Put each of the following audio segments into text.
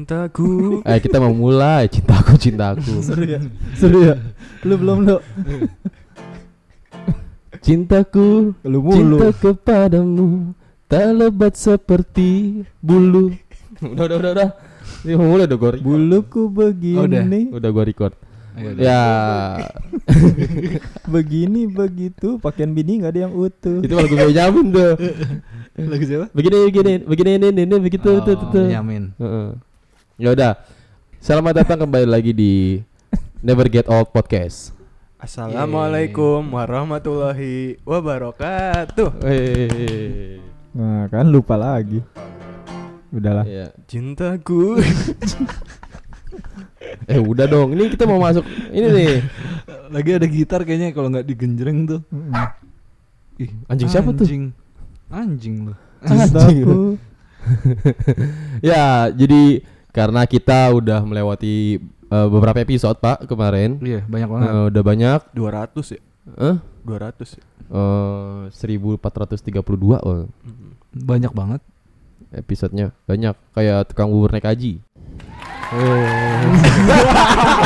Cintaku. Eh kita mau mulai cintaku cintaku seru ya seru ya lu belum lu cintaku lu mulu cinta kepadamu tak lebat seperti bulu. udah udah udah udah. Ini mau mulai udah gua record. buluku begini Oh, udah. Udah gua record. Ayo, udah. Ya begini begitu pakaian bini nggak ada yang utuh itu lagu Benjamin tuh. Lagu siapa? Begini begini begini ini ini, ini Gitu, begitu Oh, tuh tuh. tuh. Yamin. Heeh. Ya udah. Selamat datang kembali lagi di Never Get Old Podcast. Assalamualaikum warahmatullahi wabarakatuh. Wey. nah kan lupa lagi udahlah Iya. Cintaku. Eh udah dong. Ini kita mau masuk ini nih. Lagi ada gitar kayaknya ya, kalau nggak digenjreng tuh. Mm-mm. Ih, Anjing siapa tuh? Anjing. Anjing lu. cintaku Ya, jadi karena kita udah melewati eh, beberapa episode, Pak, kemarin. Iya, banyak banget. Eh, udah banyak. 200 ya? Eh, 200 ya? eh, 1432 oh, Banyak banget. episodenya. Banyak kayak tukang bubur naik haji.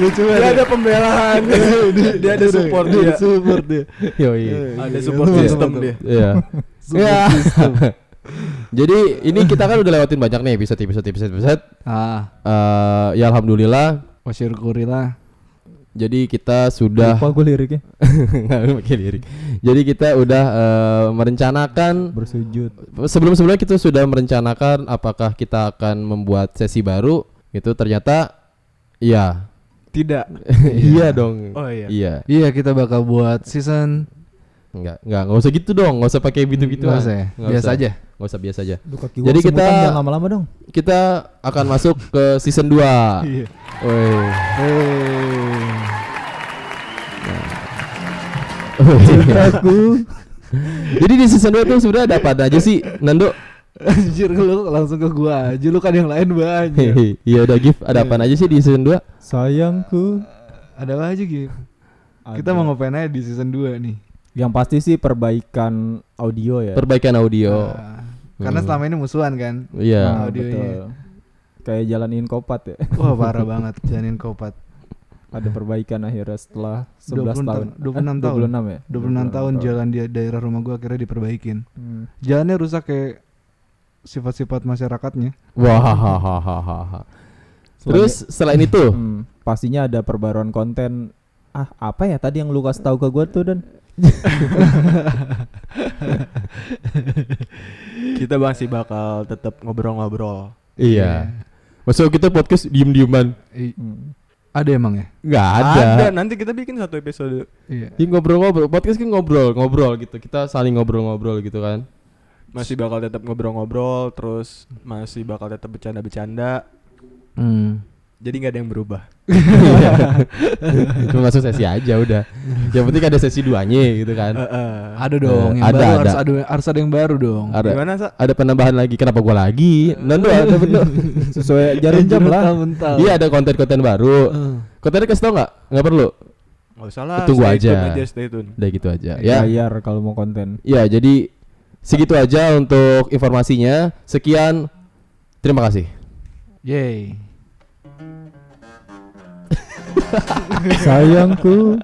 Lucu ya, Dia ada pembelaan. dia, dia ada support dia. Iya, Support dia. Yoi. Ada support Iya. system dia. Iya. Support Ya. system. Jadi ini kita kan udah lewatin banyak nih episode episode episode episode. Ah, Eh, ya alhamdulillah. Wasir Kurila. Jadi kita sudah lupa gue liriknya Nggak, lu pakai lirik. Jadi kita udah eh, merencanakan bersujud sebelum-sebelumnya kita sudah merencanakan apakah kita akan membuat sesi baru itu ternyata iya Tidak. iya dong Oh iya. iya Iya, kita bakal buat season enggak enggak enggak usah gitu dong enggak usah pakai gitu-gitu Nggak usah ya? Biasa aja. enggak usah biasa aja Duh, kaki Jadi Jadi kita kita- jangan lama-lama dong kita akan masuk ke season 2 Iya. Woi. cintaku jadi di season 2 tuh sudah ada apa aja sih Nando Anjir lu langsung ke gua aja lu kan yang lain banyak. iya udah gift ada apa aja sih di season 2 sayangku ada apa aja gitu. Kita Ada. mau ngapain aja di season 2 nih. yang pasti sih perbaikan audio ya perbaikan audio Ah, karena Hmm. selama ini musuhan kan. iya Nah, audionya. betul. kayak jalanin kopat ya Wah, parah banget janin kopat. ada perbaikan akhirnya setelah 11 tahun 20 tahun- Eh, 26 tahun. 26 ya 26 tahun jalan di daerah rumah gua akhirnya diperbaikin. Hmm. jalannya rusak kayak sifat-sifat masyarakatnya. wah hahaha Terus terus selain itu Hmm. pastinya ada perbaruan konten. Ah, apa ya tadi yang lu kasih tahu ke gua tuh dan Kita masih bakal tetap ngobrol-ngobrol. Iya. Masuk kita podcast diem-dieman. I- Hmm. ada emang ya? Enggak ada. Nanti kita bikin satu episode. Iya. Ini ngobrol-ngobrol, podcast kan ngobrol-ngobrol gitu. Kita saling ngobrol-ngobrol gitu kan. Masih bakal tetap ngobrol-ngobrol. Terus masih bakal tetap bercanda-bercanda. Jadi nggak ada yang berubah. Cuma masuk sesi aja udah. Yang penting ada sesi duanya gitu kan. Heeh. Ada dong, yang Eh, ada, baru ada. harus ada harus ada yang baru dong. Ada Gimana, Sa? ada penambahan lagi. Kenapa gua lagi? Nando ada bener. sesuai jarum jam lah. Mental. Iya ada konten-konten baru. Eh, Kontennya kasih tau nggak? Nggak perlu. Nggak usah lah. Tunggu stay aja. tune aja. Stay tune. Udah gitu aja. Ya. Bayar kalau mau konten. Ya, jadi segitu aja untuk informasinya. Sekian. Terima kasih. Yay. Sayangku